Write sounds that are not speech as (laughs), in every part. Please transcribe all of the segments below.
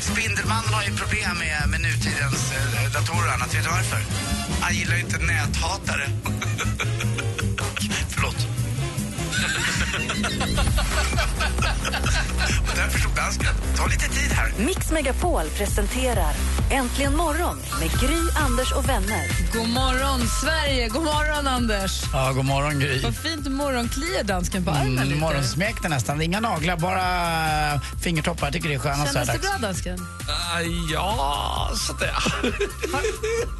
Spindelmannen har ju problem med, med nutidens eh, datorer och annat. Vet du varför? Han gillar ju inte näthatare. (laughs) Förlåt. (laughs) och därför stod dansken. Ta lite tid här. Mix Megapol presenterar Äntligen morgon med Gry, Anders och vänner. God morgon, Sverige! God morgon, Anders! Ja, god morgon Gry. Vad fint morgonkliar dansken på armen Mm, lite. morgonsmäck det nästan. Inga naglar, bara fingertoppar. Jag tycker det är skönt så här Kändes det dags. bra, dansken? Ah, ja, sådär.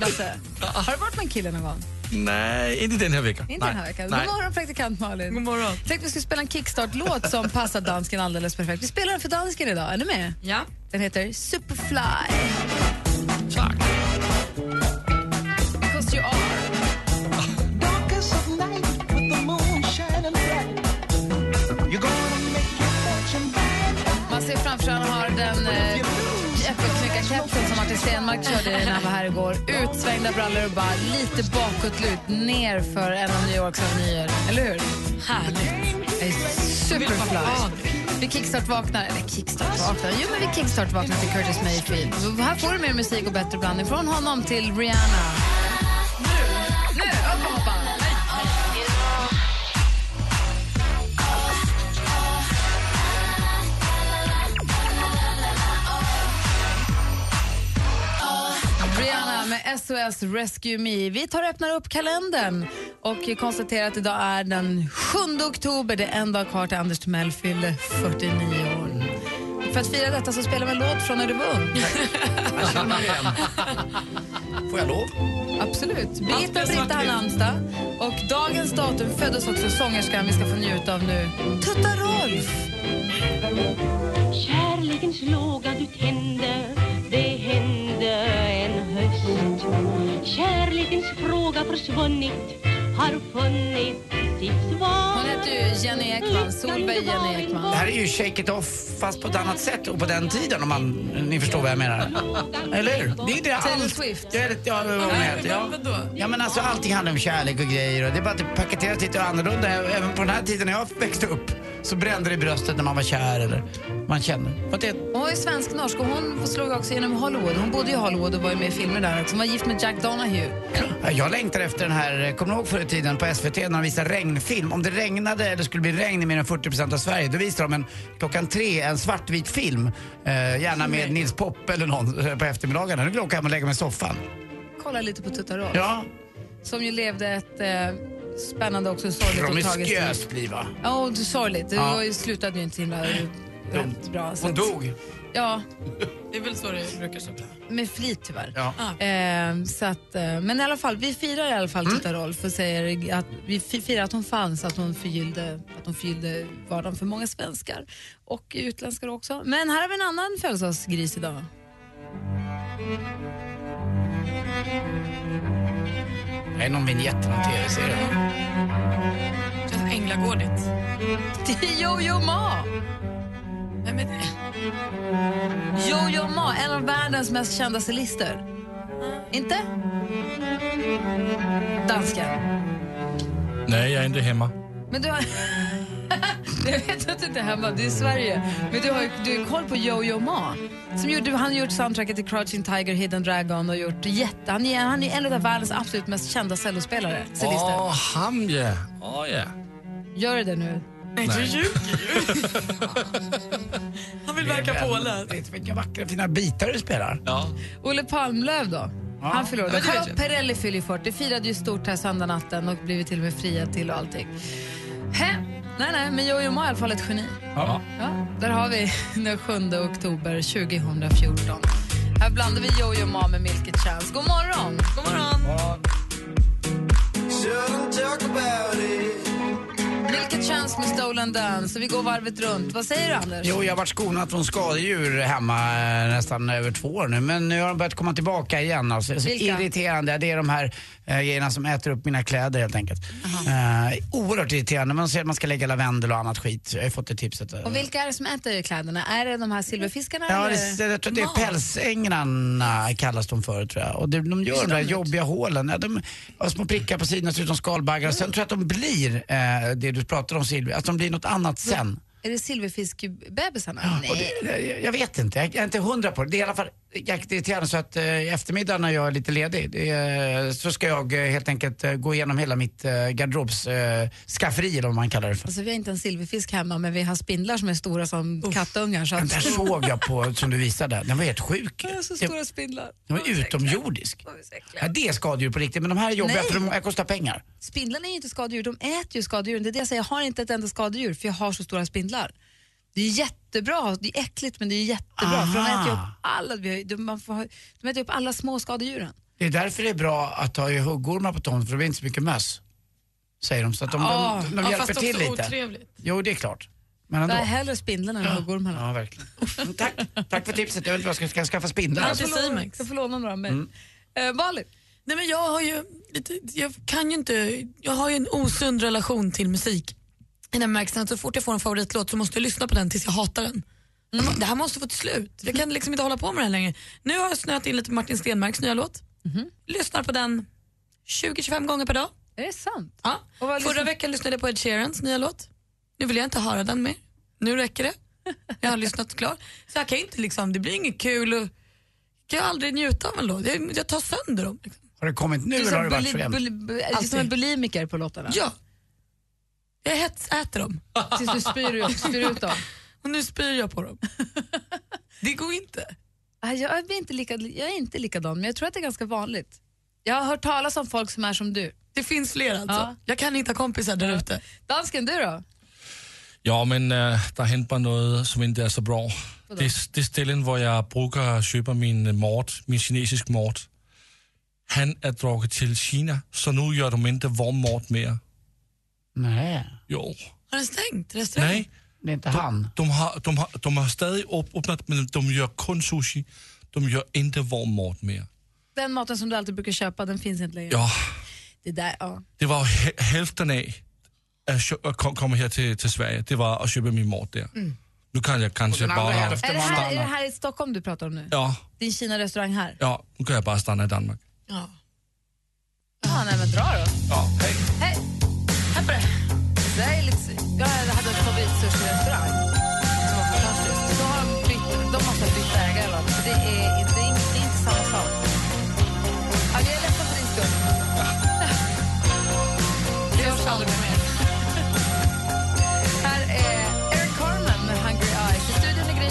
Lasse, har du varit med en kille någon gång? (laughs) Nej, inte den här veckan. Inte den här veckan. God morgon, praktikant Malin. God morgon. Tänkte vi skulle spela en kickstart-låt som passar dansken alldeles perfekt. Vi spelar den för dansken idag. Är ni med? Ja. Den heter Superfly. Tack. Because you are. Man ser framför sig han har den eh, äppelknyckarkepsen som Martin Stenmark körde när han var här igår. Utsvängda brallor och bara lite bakåtlut ner för en av New Yorks avnyer. Eller hur? Härligt. Jag är Superfly. Vi kickstart-vaknar, eller kickstart-vaknar, jo men vi kickstart-vaknar till Curtis Mayfield. Så här får du mer musik och bättre blandning från honom till Rihanna. Nu, upp och hoppa! Rihanna med SOS Rescue Me. Vi tar och öppnar upp kalendern och konstaterar att idag är den 7 oktober. Det är en dag kvar till Anders Timell fyllde 49 år. För att fira detta så spelar vi en låt från när du var ung. Får jag lov? Absolut. Birgitta Britta Halmstad. Och dagens datum föddes också sångerskan vi ska få njuta av nu, Tutta Rolf. Kärlekens låga du tände, det hände en höst Kärlekens fråga försvunnit, har funnit sitt svar Hon heter ju Jenny Ekman, Solveig Jenny Ekman. Det här är ju Shake It Off fast på ett annat sätt och på den tiden om man, ni förstår vad (laughs) jag menar. Eller hur? Det är inte Taylor allt. Swift. Det är det- Ja, vad hon heter. Ja. ja men alltså allting handlar om kärlek och grejer och det är bara att det paketeras lite annorlunda. Även på den här tiden när jag växte upp så brände det i bröstet när man var kär eller man känner. Vad det Hon var ju svensk-norsk och hon slog också genom Hollywood. Hon bodde i Hollywood och var ju med i filmer där också. Hon var gift med Jack Donahue. Ja, Jag längtar efter den här, eh, kommer du ihåg förr i tiden på SVT när de visade regnfilm? Om det regnade eller skulle bli regn i mer än 40% av Sverige, då visade de en, klockan tre en svartvit film. Eh, gärna med Nils Poppe eller någon eh, på eftermiddagarna. Nu vill jag åka hem och lägga mig i soffan. Kolla lite på Tutta Rolf, Ja, som ju levde ett eh, spännande också sorgligt och tragiskt liv. promiskuöst liv va? Ja, och sorgligt. Det Ja. var ju- slutade ju inte himla roligt bra. så Hon att- dog. Ja, Det är väl så det brukar sluta. Ah. med flit tyvärr. Ja. Eh, så att, eh, men i alla fall, vi firar i alla fall Mm. Tutta Rolf och säger att vi fi- firar att hon fanns, att hon förgyllde, att hon förgyllde vardagen för många svenskar och utländskar också. Men här har vi en annan födelsedagsgris idag. (laughs) Det är någon vignett i någon tv-serie. va? Det känns änglagårdigt. Det är Jojo Ma! Nej, men, Jojo Ma, en av världens mest kända solister. Inte? Dansken. Nej, jag är inte hemma. Men du har... (laughs) Jag vet att du inte är hemma, du är i Sverige. Men du har ju du har ju koll på Jojo Ma. Som gjorde, han har gjort soundtracket till Crouching Tiger, Hidden Dragon och gjort jätte... Han är, han är en av världens absolut mest kända cellospelare, solister. Åh, han ja. Åh, ja. Gör du det nu? nej, du ljuger (laughs) ju. Han vill verka påläst. Vet du Vilka vackra fina bitar du spelar. ja. Olle Palmlöv då? Han förlorade. men det vet Carlo Perrelli fyller ju 40. Firade ju stort här söndag natten och blivit till och med friad till och allting. Hä? Nej, nej, men Jojo Ma är i alla fall ett geni. Ja. Ja, där har vi (laughs) den 7 oktober 2014. Här blandar vi Jojo Ma med Milky Chance. God morgon! God morgon. Vilket känns med stolen dance? Vi går varvet runt. Vad säger du, Anders? Jo, jag har varit skonad från skadedjur hemma eh, nästan över två år nu. Men nu har de börjat komma tillbaka igen. Alltså. Det är så Vilka? irriterande. Det är de här eh, grejerna som äter upp mina kläder helt enkelt. Eh, oerhört irriterande. Man säger att man ska lägga lavendel och annat skit. Jag har fått det tipset. eh. Och vilka är det som äter kläderna? Är det de här silverfiskarna? Ja, eller? det, det, jag tror att det Mat? är pälsängrarna kallas de för tror jag. Och det, de gör de där jobbiga hålen. Ja, de har små prickar på sidorna, ser ut som skalbaggar. Sen tror jag att de blir eh, det du pratar om Silvia, att de blir något annat sen. Är det silverfiskbebisarna? Och Nej. det, jag, jag vet inte, jag, jag är inte hundra på det. Det är i alla fall jäkligt irriterande så att eh, i eftermiddag när jag är lite ledig det, är- så ska jag eh, helt enkelt eh, gå igenom hela mitt eh, garderobs eh, skafferi eller vad man kallar det för. Alltså, vi har inte en silverfisk hemma, men vi har spindlar som är stora som kattungar. Så Den att... där såg (laughs) jag på, som du visade, den var helt sjuk. Ja, så Det- stora spindlar. Den var utomjordisk. Ja, det är skadedjur på riktigt, men de här är jobbiga Nej. för de här kostar pengar. Spindlarna är ju inte skadedjur, de äter ju skadedjur. Det är det jag säger, jag har inte ett enda skadedjur för jag har så stora spindlar. Det är jättebra, det är äckligt men det är jättebra för de Aha. äter ju upp alla, vi har ju- de, man får, ha- de äter upp alla små skadedjuren. Det är därför det är bra att ha ju huggormar på tomten, för det blir inte så mycket möss. Säger de, så att de, Ah. de, de Ja, hjälper fast till också lite. otrevligt. Jo, det är klart. Men Jag ändå. är hellre spindlarna än huggormarna. Ja, verkligen. Mm, Tack. Tack för tipset. Jag vet inte vad jag ska, ska jag skaffa spindlar. Jag får låna- Jag får låna några av mig. Mm. Eh, Malin? Nej, men jag har ju lite, jag kan ju inte, jag har ju en osund relation till musik. I den märkelsen att så fort jag får en favoritlåt så måste jag lyssna på den tills jag hatar den. Mm. Det här måste få ett slut. Jag kan liksom inte hålla på med det här längre. Nu har jag snöat in lite på Martin Stenmarks nya låt. Lyssnar på den 20-25 gånger per dag. Är det sant? Ja. Förra liksom- veckan lyssnade jag på Ed Sheerans nya låt. Nu vill jag inte höra den mer. Nu räcker det. Jag har lyssnat klart. Så jag kan inte liksom, det blir inget kul och kan jag aldrig njuta av en låt. Jag, jag tar sönder dem. Liksom. Har det kommit nu Du är eller som har det varit buli- för jämt? buli- bu- du är som en bulimiker på låtarna. Ja. Jag hetsäter dem. (laughs) Tills du spyr ut- spyr ut dem. (laughs) Och nu spyr jag (laughs) på dem. Det går inte. Ah, Jag är, inte lika, jag är inte likadan, men jag tror att det är ganska vanligt. Jag har hört talas om folk som är som du. Det finns fler alltså. Ja. Jag kan hitta kompisar där ute. Dansken, du då? Ja, men äh, der henter bare noget, som ikke er så bra. Det, det ställen, hvor jeg bruger og køber min øh, mort, min kinesisk mort, han er drukket til Kina, så nu gør du mindre varm mort mere. Nej. Jo. Har den stängt restaurangen? Nej. Det är inte han. De har, de har, de har stadig åb- åbnet, men de gör kun sushi. De gör inte varm mort mer. Den maten som du alltid brukar köpa, den finns inte längre. Ja, Det där, ja. det var jo hæ- hälften af at kö- at kom- komme her till till Sverige. Det var at købe min mort der. Nu kan jag kanske den andra bara... hälften Är det, här, är det stanna. här i Stockholm du pratar om nu? Ja, Din Kina-restaurang här? ja, nu kan jag bara stanna i Danmark. Ja. Ja, nej men dra då. Ja, hej. Hej! Hej på dig! Det här är lite... Jag hade en favoritsushi-restaurang som var fantastisk. Då har de bytt... De måste ha bytt ägare eller något, för det är inte, det är inte, det är inte samma sak. Ja, jag är ledsen för din skull. Det hörs aldrig (laughs) mer. Här är Eric Carmen med Hungry Eyes. I studion är Gry.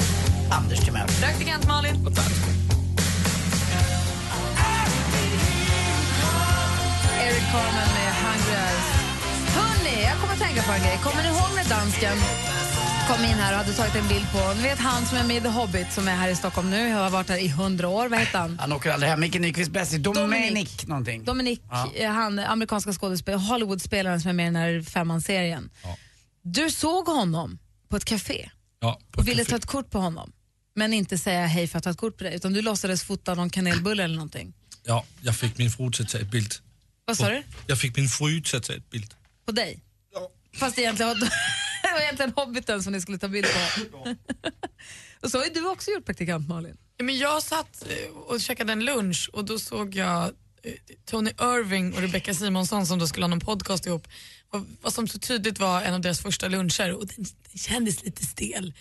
Anders Timell. Praktikant Malin. Eric Carmen med Hungry Eyes. Hörni, jag kommer att tänka på en grej. Kommer ni ihåg när dansken kom in här och hade tagit en bild på, ni vet han som är med i The Hobbit som är här i Stockholm nu, har varit här i hundra år, vad heter han? Han åker aldrig hem. Micke Nyqvist Bessie. Dominic. Dominic någonting. Dominic, Ja. eh, han amerikanska skådespelaren, Hollywoodspelaren som är med i den här femman-serien. Du såg honom på ett café Ja, på och ville café. ta ett kort på honom. Men inte säga hej för att ta ett kort på dig, utan du låtsades fota någon kanelbulle eller någonting. Ja, jag fick min fru till att ta ett bild. Vad sa du? Jag fick min fru till att ta ett bild. På dig? Fast egentligen var (laughs) det var egentligen hobbiten som ni skulle ta bild på. (laughs) och så har ju du också gjort praktikant Malin. Ja, Men jag satt eh, och käkade en lunch och då såg jag eh, Tony Irving och Rebecca Simonsson som då skulle ha någon podcast ihop. Och vad som så tydligt var en av deras första luncher och den, den kändes lite stel.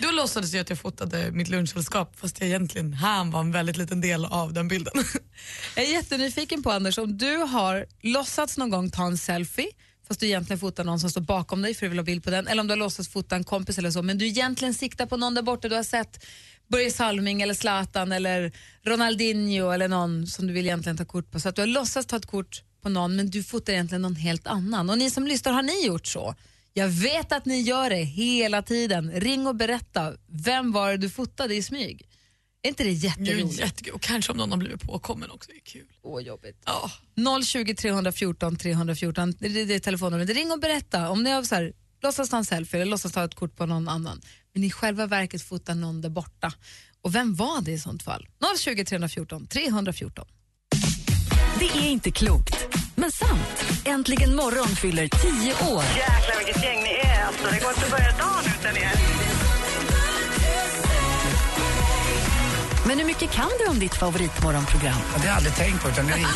Då låtsades jag att jag fotade mitt lunchsällskap fast jag egentligen, han var en väldigt liten del av den bilden. Jag är jättenyfiken på Anders om du har låtsats någon gång ta en selfie fast du egentligen fotar någon som står bakom dig för du vill ha bild på den eller om du har låtsats fota en kompis eller så men du egentligen siktar på någon där borta du har sett Börje Salming eller Zlatan eller Ronaldinho eller någon som du vill egentligen ta kort på så att du har låtsats ta ett kort på någon men du fotar egentligen någon helt annan och ni som lyssnar har ni gjort så? Jag vet att ni gör det hela tiden. Ring och berätta. Vem var det du fotade i smyg? Är inte det jätteroligt? Jättekul. Och kanske om någon har blivit påkommen också. Det är kul. Åh, jobbigt. 020 314 314, det det är telefonnumret. Ring och berätta om ni har så här, låtsas ta en selfie eller låtsas ta ett kort på någon annan, men i själva verket fotar någon där borta. Och vem var det i sånt fall? 020 314 314. Det är inte klokt, men sant. Äntligen morgon fyller tio år. Jäklar vilket gäng ni är alltså. Det går inte att börja dagen utan er. Men hur mycket kan du om ditt favoritmorgonprogram? Det har jag aldrig tänkt på utan det är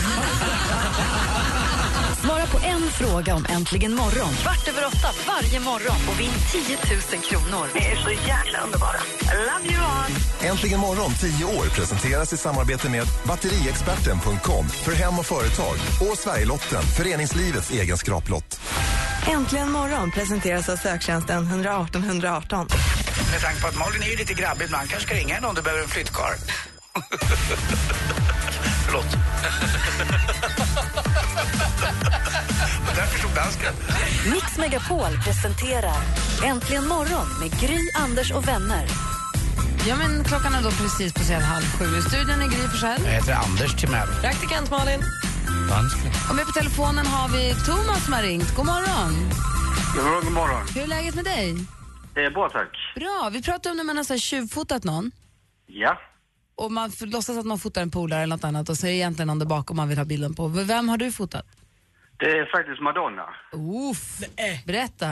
Svara på en fråga om Äntligen morgon kvart över åtta varje morgon och vinn 10 000 kronor. Ni är så jäkla underbara. I love you all. Äntligen morgon 10 år presenteras i samarbete med batteriexperten.com för hem och företag och Sverigelotten, föreningslivets egen skraplott. Äntligen morgon presenteras av söktjänsten 118 118. Med tanke på att Malin är ju lite grabbig ibland kanske ska ringa henne om du behöver en flyttkarl. Förlåt. Där förstod dansken. Mix Megapol presenterar Äntligen morgon med Gry, Anders och vänner. Ja, men klockan är då precis passerat halv sju. I studion är Gry Forssell. Jag heter Anders Timell. Praktikant Malin. Dansken. Och med på telefonen har vi Thomas som har ringt. God morgon. God morgon. Hur är läget med dig? Det är bra tack. Bra. Vi pratade om när man har så här tjuvfotat någon Ja. och man f- låtsas att man fotar en polare eller något annat och så är det egentligen någon där bakom man vill ha bilden på. V- Vem har du fotat? Det är faktiskt Madonna. Oof. eh. Berätta.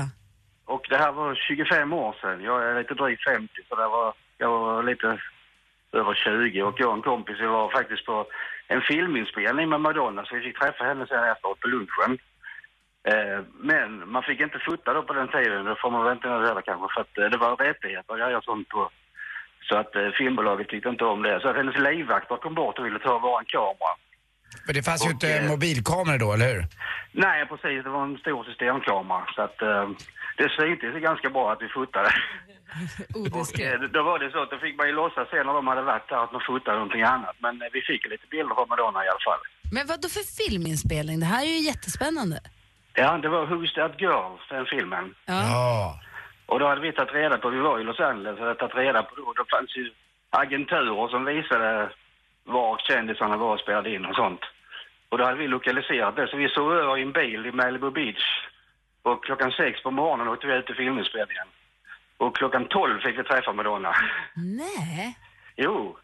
Och det här var 25 år sedan. Jag är lite drygt 50 så det var, jag var lite över 20 och jag och en kompis vi var faktiskt på en filminspelning med Madonna så vi fick träffa henne sen efteråt på lunchen. Eh, men man fick inte fota då på den tiden, det får man väl inte nu heller kanske för att eh, det var rättigheter och grejer och sånt då. Så att eh, filmbolaget tyckte inte om det. Så att hennes livvakter kom bort och ville ta våran kamera. eh, För det fanns ju inte mobilkameror då, eller hur? Nej, precis. Det var en stor systemkamera. Så att, eh, det syntes ganska bra att vi fotade. Oh, och, eh, (laughs) då var det så att då fick man ju låtsas sen när de hade varit där att man fotade någonting annat. Men eh, vi fick lite bilder från Madonna i alla fall. Men vad då för filminspelning? Det här är ju jättespännande. Ja, det var Who's That Girl, den filmen. Ja. Och då hade vi tagit reda på, vi var i Los Angeles och hade tagit reda på då, då fanns ju agenturer som visade var kändisarna var och spelade in och sånt. Och då hade vi lokaliserat det, så vi sov över i en bil i Malibu Beach. Och klockan sex på morgonen åkte vi ut till filminspelningen. Och klockan tolv fick vi träffa Madonna. (laughs) Nej. Jo,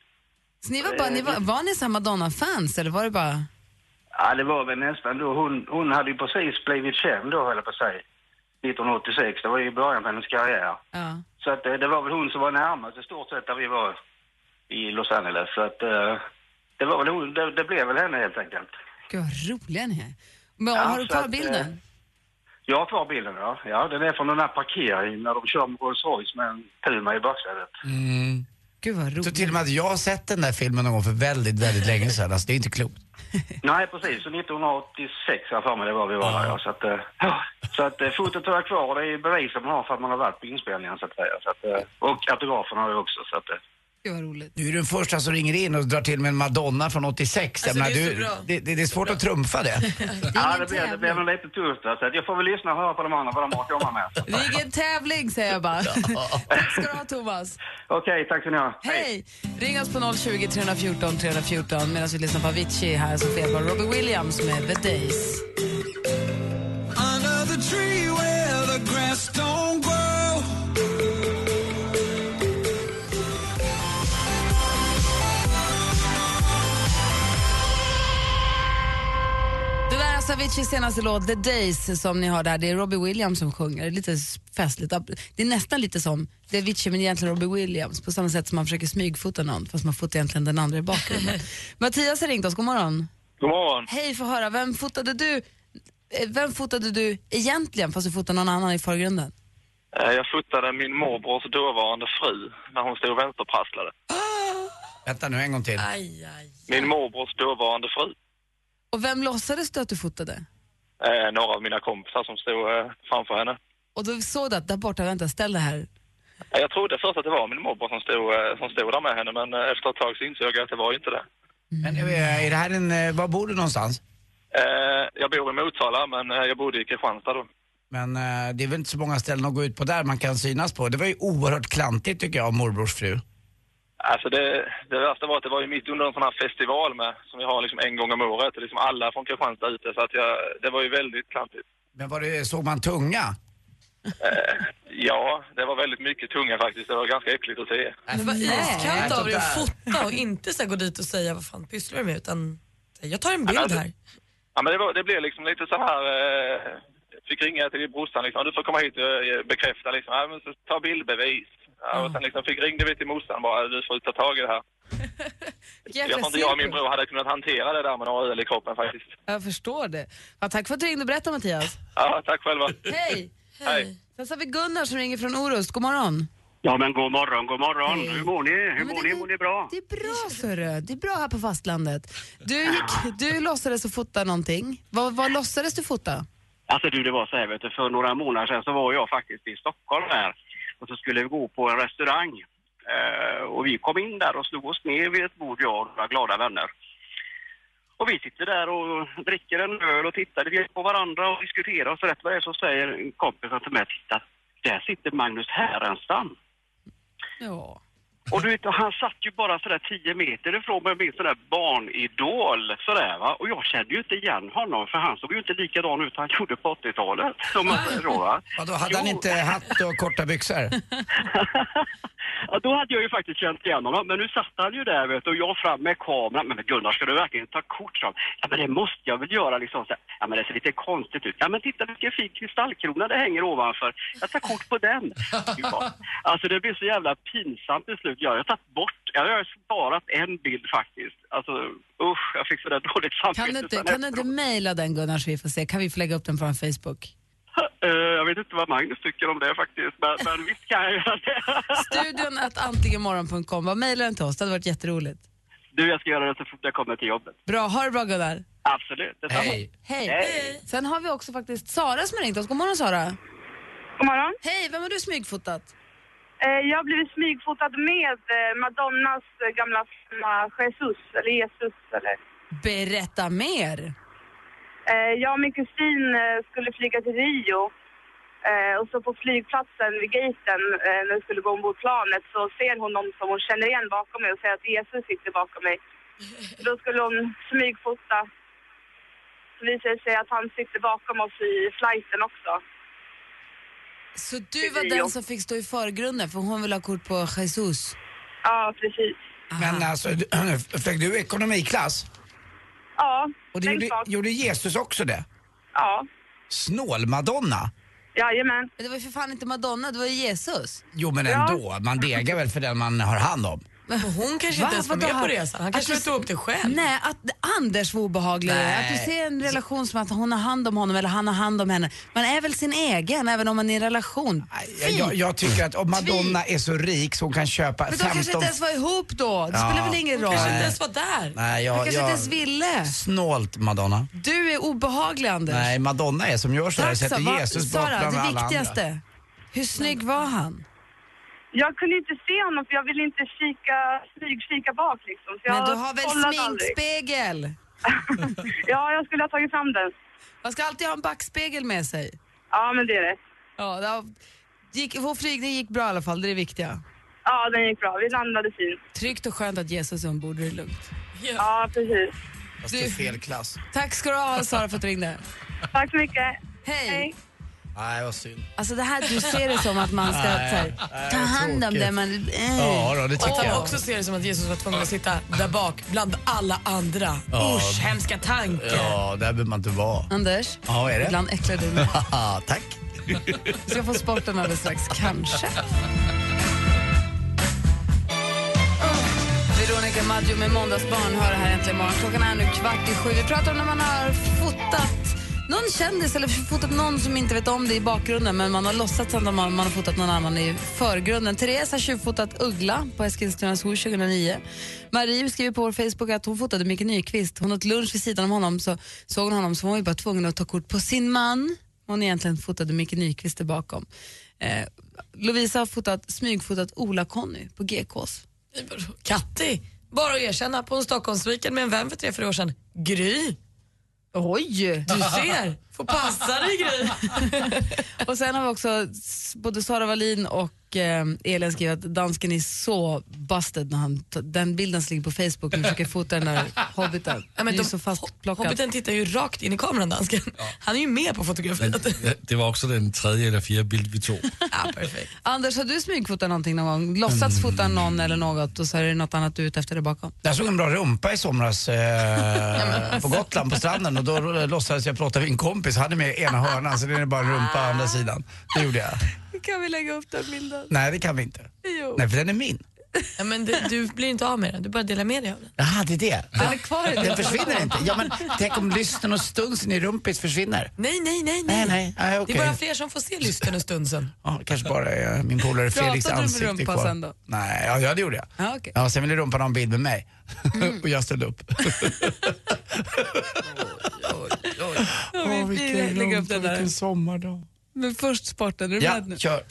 Så ni var, bara, Eh, ni var, var ni så här Madonna-fans eller var det bara... ja, det var väl nästan då. Hon, hon hade ju precis blivit känd då, höll jag på att säga. 1986, det var ju i början på hennes karriär. Ja. Så att eh, det var väl hon som var närmast i stort sett där vi var i Los Angeles. Så att eh, det var väl hon, det, det blev väl henne helt enkelt. Gud vad roliga ni är. Men Ja, har du så kvar att, eh, bilden? Jag har kvar bilden ja. ja. Den är från den här parkeringen när de kör med Rolls Royce med en Puma i baksätet. Mm. Gud vad roligt. Så till och med att jag har sett den där filmen någon gång för väldigt, väldigt länge sedan. Alltså det är inte klokt. (laughs) Nej precis, så 1986 har jag för mig det var vi var där ja. Så att, eh, ja. så att eh, fotot har jag kvar och det är bevisen man har för att man har varit på inspelningen så att säga. Så att, eh, och autografen har jag också så att eh, Gud vad roligt. Du är den första som ringer in och drar till med en Madonna från 86. Jag Alltså, menar, det är du, så bra. det, det, det är svårt att trumfa det. (laughs) Ja, det blev, det blev nog lite tufft där, så att jag får väl lyssna och höra på de andra vad de har att komma med. Vilken tävling säger jag bara. Tack ska du ha Thomas. Okej, tack ska ni ha. Hej! Ring oss på 020 314 314 medan vi lyssnar på Avicii här som får hjälp av Robbie Williams med The Days. Under the tree where the grass don't grow. Det där är alltså Aviciis senaste låt The Days som ni har där. Det är Robbie Williams som sjunger. Det är lite festligt. Det är nästan lite som det är Avicii men egentligen Robbie Williams på samma sätt som man försöker smygfota någon fast man fotar egentligen den andra i bakgrunden. Mattias har ringt oss. God morgon. God morgon. Hej, få höra. Vem fotade du eh, vem fotade du egentligen fast du fotade någon annan i förgrunden? Eh, Jag fotade min morbrors dåvarande fru när hon stod och vänsterprasslade. Vänta nu en gång till. Min morbrors dåvarande fru. Och vem låtsades du att du fotade? Eh, några av mina kompisar som stod eh, framför henne. Och då såg du att där borta, vänta, ställ det här. Eh, Jag trodde först att det var min morbror som stod, eh, som stod där med henne men eh, efter ett tag så insåg jag att det var ju inte det. Men eh, är det här en, eh, var bor du någonstans? Eh, Jag bor i Motala men eh, jag bodde i Kristianstad då. Men eh, det är väl inte så många ställen att gå ut på där man kan synas på. Det var ju oerhört klantigt tycker jag av morbrors fru. Alltså det, det värsta var att det var ju mitt under en sån här festival med, som vi har liksom en gång om året. Det är liksom alla från Kristianstad ute, så att jag, det var ju väldigt klantigt. Men var det, såg man tunga? Eh, ja, det var väldigt mycket tunga faktiskt. Det var ganska äckligt att se. Men vad Nej, iskallt av dig att sådär. fota och inte så här gå dit och säga vad fan pysslar du med utan säg, jag tar en Ja, bild men här. Ja, men det, var, det blev liksom lite så här... Eh, fick ringa till brorsan liksom. Du får komma hit och eh, bekräfta liksom. Ja, men så ta bildbevis. Ja, och sen liksom fick ringde vi till morsan bara. Du får ta tag i det här. jag tror inte jag och min bror hade kunnat hantera det där med några öl i kroppen faktiskt. Jag förstår det. Ja, tack för att du ringde och berättade (laughs) Mattias. Ja, tack själva. Hej! Hej. Sen så har vi Gunnar som ringer från Orust. God morgon. Ja, men god morgon, god morgon. Hur mår ni? Hur mår ni? Mår ni bra? Det är bra sörru. Det är bra här på fastlandet. Du, gick, du låtsades att fota någonting. Vad, vad låtsades du fota? Alltså du, det var så här, vet du, för några månader sedan så var jag faktiskt i Stockholm här och så skulle vi gå på en restaurang. Eh, och vi kom in där och slog oss ner vid ett bord, jag och några glada vänner. Och vi sitter där och dricker en öl och tittar vi på varandra och diskuterar och så rätt vad det är så säger en kompis till mig, titta, där sitter Magnus Härenstam. Ja. Och du vet, han satt ju bara sådär 10 meter ifrån mig med sån där barnidol sådär va. Och jag kände ju inte igen honom för han såg ju inte likadan ut han gjorde på 80-talet. Som man säger då va. Vadå, hade han inte hatt och korta byxor? (laughs) Ja, då hade jag ju faktiskt känt igen honom. Men nu satt han ju där vet du, och jag fram med kameran. Men Gunnar, ska du verkligen ta kort? Som? Ja, men det måste jag väl göra liksom. Så här. Ja, men det ser lite konstigt ut. Ja, men titta vilken fin kristallkrona det hänger ovanför. Jag tar kort på (laughs) den. Fy fan. Alltså det blev så jävla pinsamt till slut. Ja, jag har tagit bort, jag har sparat en bild faktiskt. Alltså usch, jag fick sådär dåligt samvete. Kan du inte, sen kan du efteråt. (laughs) inte mejla den Gunnar så vi får se? Kan vi få lägga upp den på vår Facebook? Eh, jag vet inte vad Magnus tycker om det faktiskt, men, men visst kan jag göra det. (laughs) Studion att antligenmorgon.com. Vad Mejla den till oss, det hade varit jätteroligt. Du, jag ska göra det så fort jag kommer till jobbet. Bra, ha det bra Gunnar. Absolut, detsamma. Hej. Sen har vi också faktiskt Sara som har ringt oss. God morgon Sara. God morgon. Hej, vem har du smygfotat? Eh, Jag har blivit smygfotad med eh, Madonnas eh, gamla flamma Jesus, eller Jesus. Eller. Berätta mer. Eh, Jag och min kusin eh, skulle flyga till Rio eh, och så på flygplatsen vid gaten eh, när vi skulle gå ombord planet så ser hon någon som hon känner igen bakom mig och säger att Jesus sitter bakom mig. Då skulle hon smygfota. Så visade det sig att han sitter bakom oss i flighten också. Så du var den som fick stå i förgrunden för hon vill ha kort på Jesus. Ja, precis. Men alltså, du- flög du ekonomiklass? Ja, Och det gjorde, gjorde Jesus också det? Ja. Snål-Madonna? Jajamän. Men det var ju för fan inte Madonna, det var ju Jesus. Jo men ändå, man degar väl för den man har hand om? Men hon kanske inte ens var med på resan. Han kanske tog upp det själv. Nej, att Anders var obehaglig. Nej. Att du ser en relation som att hon har hand om honom eller han har hand om henne. Man är väl sin egen även om man är i en relation. Jag, jag, jag tycker att om Madonna är så rik så hon kan köpa Men de 15... kanske inte ens var ihop då. Det Ja. spelar väl ingen Hon roll. kanske inte ens var där. Nej, jag, Hon kanske jag... inte ens ville. Snålt Madonna. Du är obehaglig Anders. Nej, Madonna är som gör så här, Tack så sätter va- Jesus bort Sara, bland det alla viktigaste. andra. Hur snygg var han? Jag kunde inte se honom för jag ville inte kika, smygkika bak liksom. Så Men jag du har väl kollade aldrig. sminkspegel? ja, jag skulle ha tagit fram den. Man ska alltid ha en backspegel med sig. Ja, men det är rätt. Ja, det har... gick, vår flygning gick bra i alla fall, det är det viktiga. Ja, den gick bra. Vi landade fint. Tryggt och skönt att Jesus är ombord, det är lugnt. Ja, precis. Fast det är fel klass. Tack ska du (laughs) ha Sara för att du ringde. Tack så mycket. Hej. Nej, vad synd. Alltså det här, du ser det som att man ska Nej, så här, nej, ta hand om tråkigt. det man... eh. Ja, då, det tycker och jag. också ser det som att Jesus var tvungen att sitta där bak bland alla andra. Ja. Usch, hemska tanke. Ja, där behöver man inte (laughs) vara. Anders, Ja, vad är det? ibland äcklar du mig. Tack. Vi ska få sporten alldeles strax, kanske. Veronica Maggio med Måndagsbarn hör det här äntligen imorgon. Klockan är nu kvart i sju. Vi pratar om när man har fotat någon kändis eller fotat någon som inte vet om det i bakgrunden men man har låtsats att man, man har fotat någon annan i förgrunden. Therese har tjuvfotat Uggla på Eskilstuna Zoo 2009. Marie skriver på vår Facebook att hon fotade Micke Nyqvist. Hon åt lunch vid sidan om honom så såg hon honom så hon var ju bara tvungen att ta kort på sin man. Hon egentligen fotade Micke Nyqvist där bakom. Eh, Lovisa har fotat, smygfotat Ola-Conny på GKs. Katti, bara att erkänna, på en Stockholmsweekend med en vän för tre, fyra år sedan. Gry. Oj! Du (laughs) ser, får passa dig Gry. Och sen har vi också s- både Sara Wallin och och eh, Elin skriver att dansken är så busted när han, t- den bilden som ligger på Facebook när han försöker fota den där hobbiten. Ja, det men är ju de, så fastplockad. hobbiten tittar ju rakt in i kameran, dansken. Han är ju med på fotografiet. Det var också den tredje eller fjärde bild vi tog. ja, perfekt. Anders, har du smygfotat någonting någon gång? Låtsats Mm. fota någon eller något och så är det något annat du är ute efter där bakom? Jag såg en bra rumpa i somras eh, på Gotland på stranden och då låtsades jag prata med en kompis. Hade med ena hörnan så det är bara en rumpa å andra sidan. Det gjorde jag. Kan vi lägga upp den bilden? Nej, det kan vi inte. Jo. Nej, för den är min. Ja, men det, du blir inte av med den, du bara delar med dig av den. Jaha, det är det. Den är kvar i den. det. försvinner inte. Ja, men tänk om lysten och stunsen i rumpis försvinner. Nej, nej, nej. nej. Det okej. är bara fler som får se (laughs) lysten och stunsen. Ja, kanske bara eh, min polare Pratade Felix du med ansikte rumpa kvar. sen då? Nej, ja, ja, det gjorde jag. Ja, okej. Ja, sen ville rumpan ha en bild med mig Mm. (laughs) och jag (laughs) ställde upp. Ja, vi- vi lägger upp den där. Vilken sommardag. Men först sporten, är du ja, med nu? kör.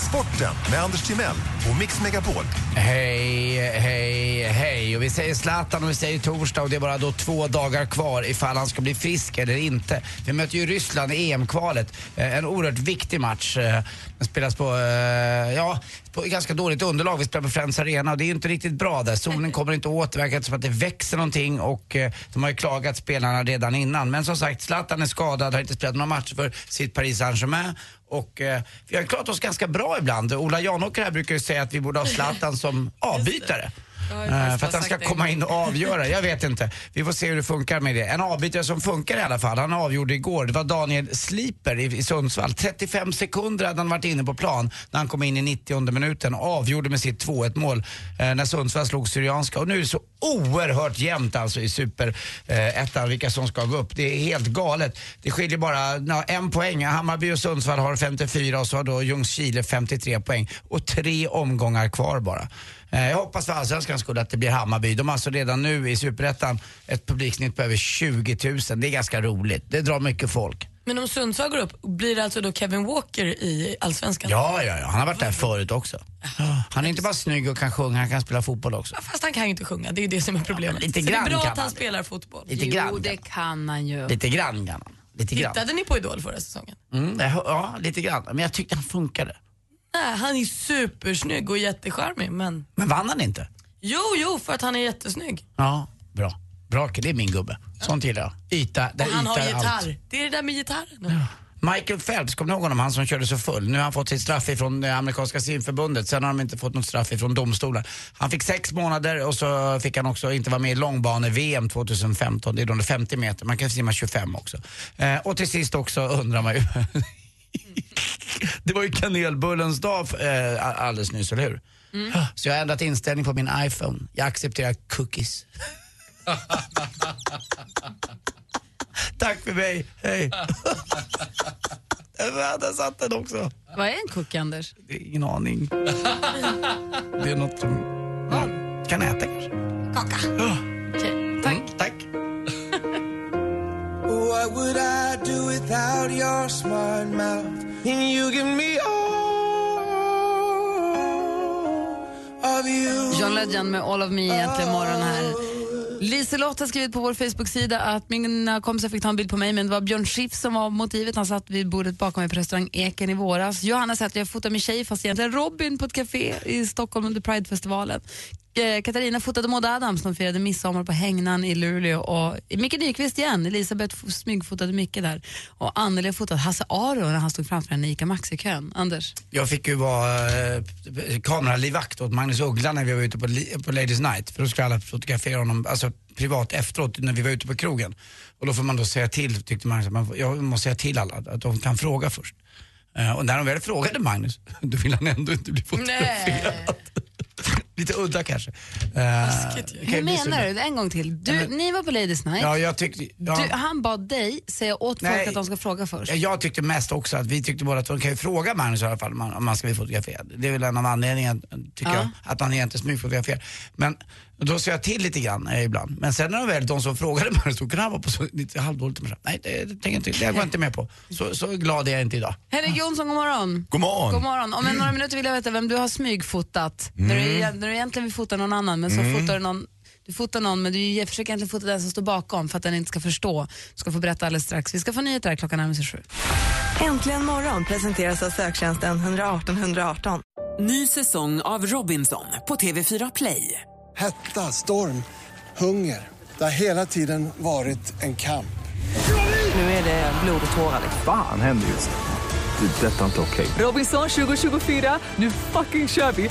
Sporten med Anders Timell och Mix Megapol. Hej, hej, hej. Och vi säger Zlatan och vi säger torsdag och det är bara då två dagar kvar ifall han ska bli frisk eller inte. Vi möter ju Ryssland i EM-kvalet. Eh, En oerhört viktig match. Eh, Den spelas på, eh, ja, på ganska dåligt underlag. Vi spelar på Friends Arena och det är ju inte riktigt bra (laughs) där. Solen kommer inte åt. Det verkar inte som att det växer någonting och eh, de har ju klagat spelarna redan innan. Men som sagt, Zlatan är skadad, har inte spelat några matcher för sitt Paris Saint-Germain. Och eh, vi har klarat oss ganska bra ibland. Ola Janåker här brukar ju säga att vi borde ha (laughs) Zlatan som Jag avbytare. har ju Eh, faktiskt För att han bara ska sagt det komma en in gång. och avgöra. Jag vet inte. Vi får se hur det funkar med det. En avbytare som funkar i alla fall, han avgjorde igår. Det var Daniel Sliper i, i Sundsvall. 35 sekunder hade han varit inne på plan när han kom in i 90 minuten och avgjorde med sitt 2-1 mål eh, när Sundsvall slog Syrianska. Och nu är det så oerhört jämnt alltså i superettan vilka som ska gå upp. Det är helt galet. Det skiljer bara ja, en poäng. Hammarby och Sundsvall har 54 och så har då Ljungskile 53 poäng. Och tre omgångar kvar bara. Eh, Jag hoppas för allsvenskans skull att det blir Hammarby. De har alltså redan nu i superettan ett publiksnitt på över 20 000. Det är ganska roligt. Det drar mycket folk. Men om Sundsvall går upp, blir det alltså då Kevin Walker i Allsvenskan? Ja, ja, ja. Han har varit där förut också. Han är inte bara snygg och kan sjunga, han kan spela fotboll också. Fast han kan ju inte sjunga, det är ju det som är problemet. lite Så det grann är bra kan att han han. spelar fotboll. Lite Jo, grann. Det kan han ju. Lite grann kan han. Lite grann. Tittade ni på Idol förra säsongen? Mm, jag hör- ja, lite grann. Men jag tyckte han funkade. Nej, han är supersnygg och jättecharmig men... Men vann han inte? Jo, jo, för att han är jättesnygg. Ja, bra. Bra, det är min gubbe. Sånt gillar jag. Yta, där Och han har yta är gitarr. allt. Det är det där med gitarren. Michael Phelps, kommer ni ihåg honom? Han som körde så full. Nu har han fått sitt straff ifrån eh, amerikanska simförbundet. Sen har de inte fått något straff ifrån domstolen. Han fick sex månader och så fick han också inte vara med i långbane-VM 2015. Det är då under 50 meter. Man kan simma 25 också. Eh, och till sist också undrar man ju. (laughs) det var ju kanelbullens dag eh, alldeles nyss, eller hur? Så jag har ändrat inställning på min iPhone. Jag accepterar cookies. Tack för mig, hej. Där satt den också. Vad är en cookie, Anders? Det är ingen aning. Det är något som man kan äta kanske. Kaka. Tack. Tack. What would I do without your smart mouth? And you give me all of you. John Legend med All of Me egentligen morgon här. Liselott har skrivit på vår Facebook-sida att mina kompisar fick ta en bild på mig men det var Björn Schiff som var motivet. Han satt vid bordet bakom mig på restaurang Eken i våras. Johanna säger att jag fotar min tjej fast egentligen Robin på ett café i Stockholm under Pridefestivalen. Eh, Katarina fotade Maud Adams som firade midsommar på Hängnan i Luleå och Micke Nyqvist igen, Elisabeth f- smygfotade Micke där och Anneli har fotat Hasse Aro när han stod framför henne i ICA Maxi-kön. Anders? Jag fick ju vara eh, kameralivvakt åt Magnus Uggla när vi var ute på, li- på Ladies Night. För då skulle alla fotografera honom alltså, privat efteråt när vi var ute på krogen. Och då får man då säga till, tyckte Magnus, att man, får- jag måste säga till alla att de kan fråga först. Eh, och när de väl frågade Magnus, (laughs) då ville han ändå inte bli fotograferad. (laughs) Lite udda kanske. Eh, kan ju Hur bli så menar ibland. du? En gång till. Du, ni var på Ladies Night. Ja, jag tyckte... Ja. Du, han bad dig säga åt folk Nej. att de ska fråga först. Ja, Jag tyckte mest också att vi tyckte båda att de kan ju fråga Magnus i alla fall om man, om man ska bli fotograferad. Det är väl en av anledningarna, tycker Ja. jag, att han egentligen smygfotograferar. Men då sa jag till lite grann eh, ibland. Men sen när de väl, de som frågade (laughs) Magnus, då kunde han vara på så, lite halvdåligt humör. Nej, det, det tänker jag inte, det går jag inte med på. Så, så glad är jag inte idag. Henrik Jonsson, god morgon. God morgon. God morgon. Om en några minuter vill jag veta vem du har smygfotat. När, du, Mm. egent- när du egentligen vill fota någon annan, men så Mm. fotar du någon Du fotar någon men du ge- försöker egentligen fota den som står bakom för att den inte ska förstå. Du ska få berätta alldeles strax. Vi ska få nyheter här klockan närmar sig sju. Äntligen morgon presenteras av söktjänsten 118 118. Ny säsong av Robinson på TV4 Play. Hetta, storm, hunger. Det har hela tiden varit en kamp. Nu är det blod och tårar. liksom. Fan händer just det. Det är detta inte okej. Robinson 2024, nu fucking kör vi!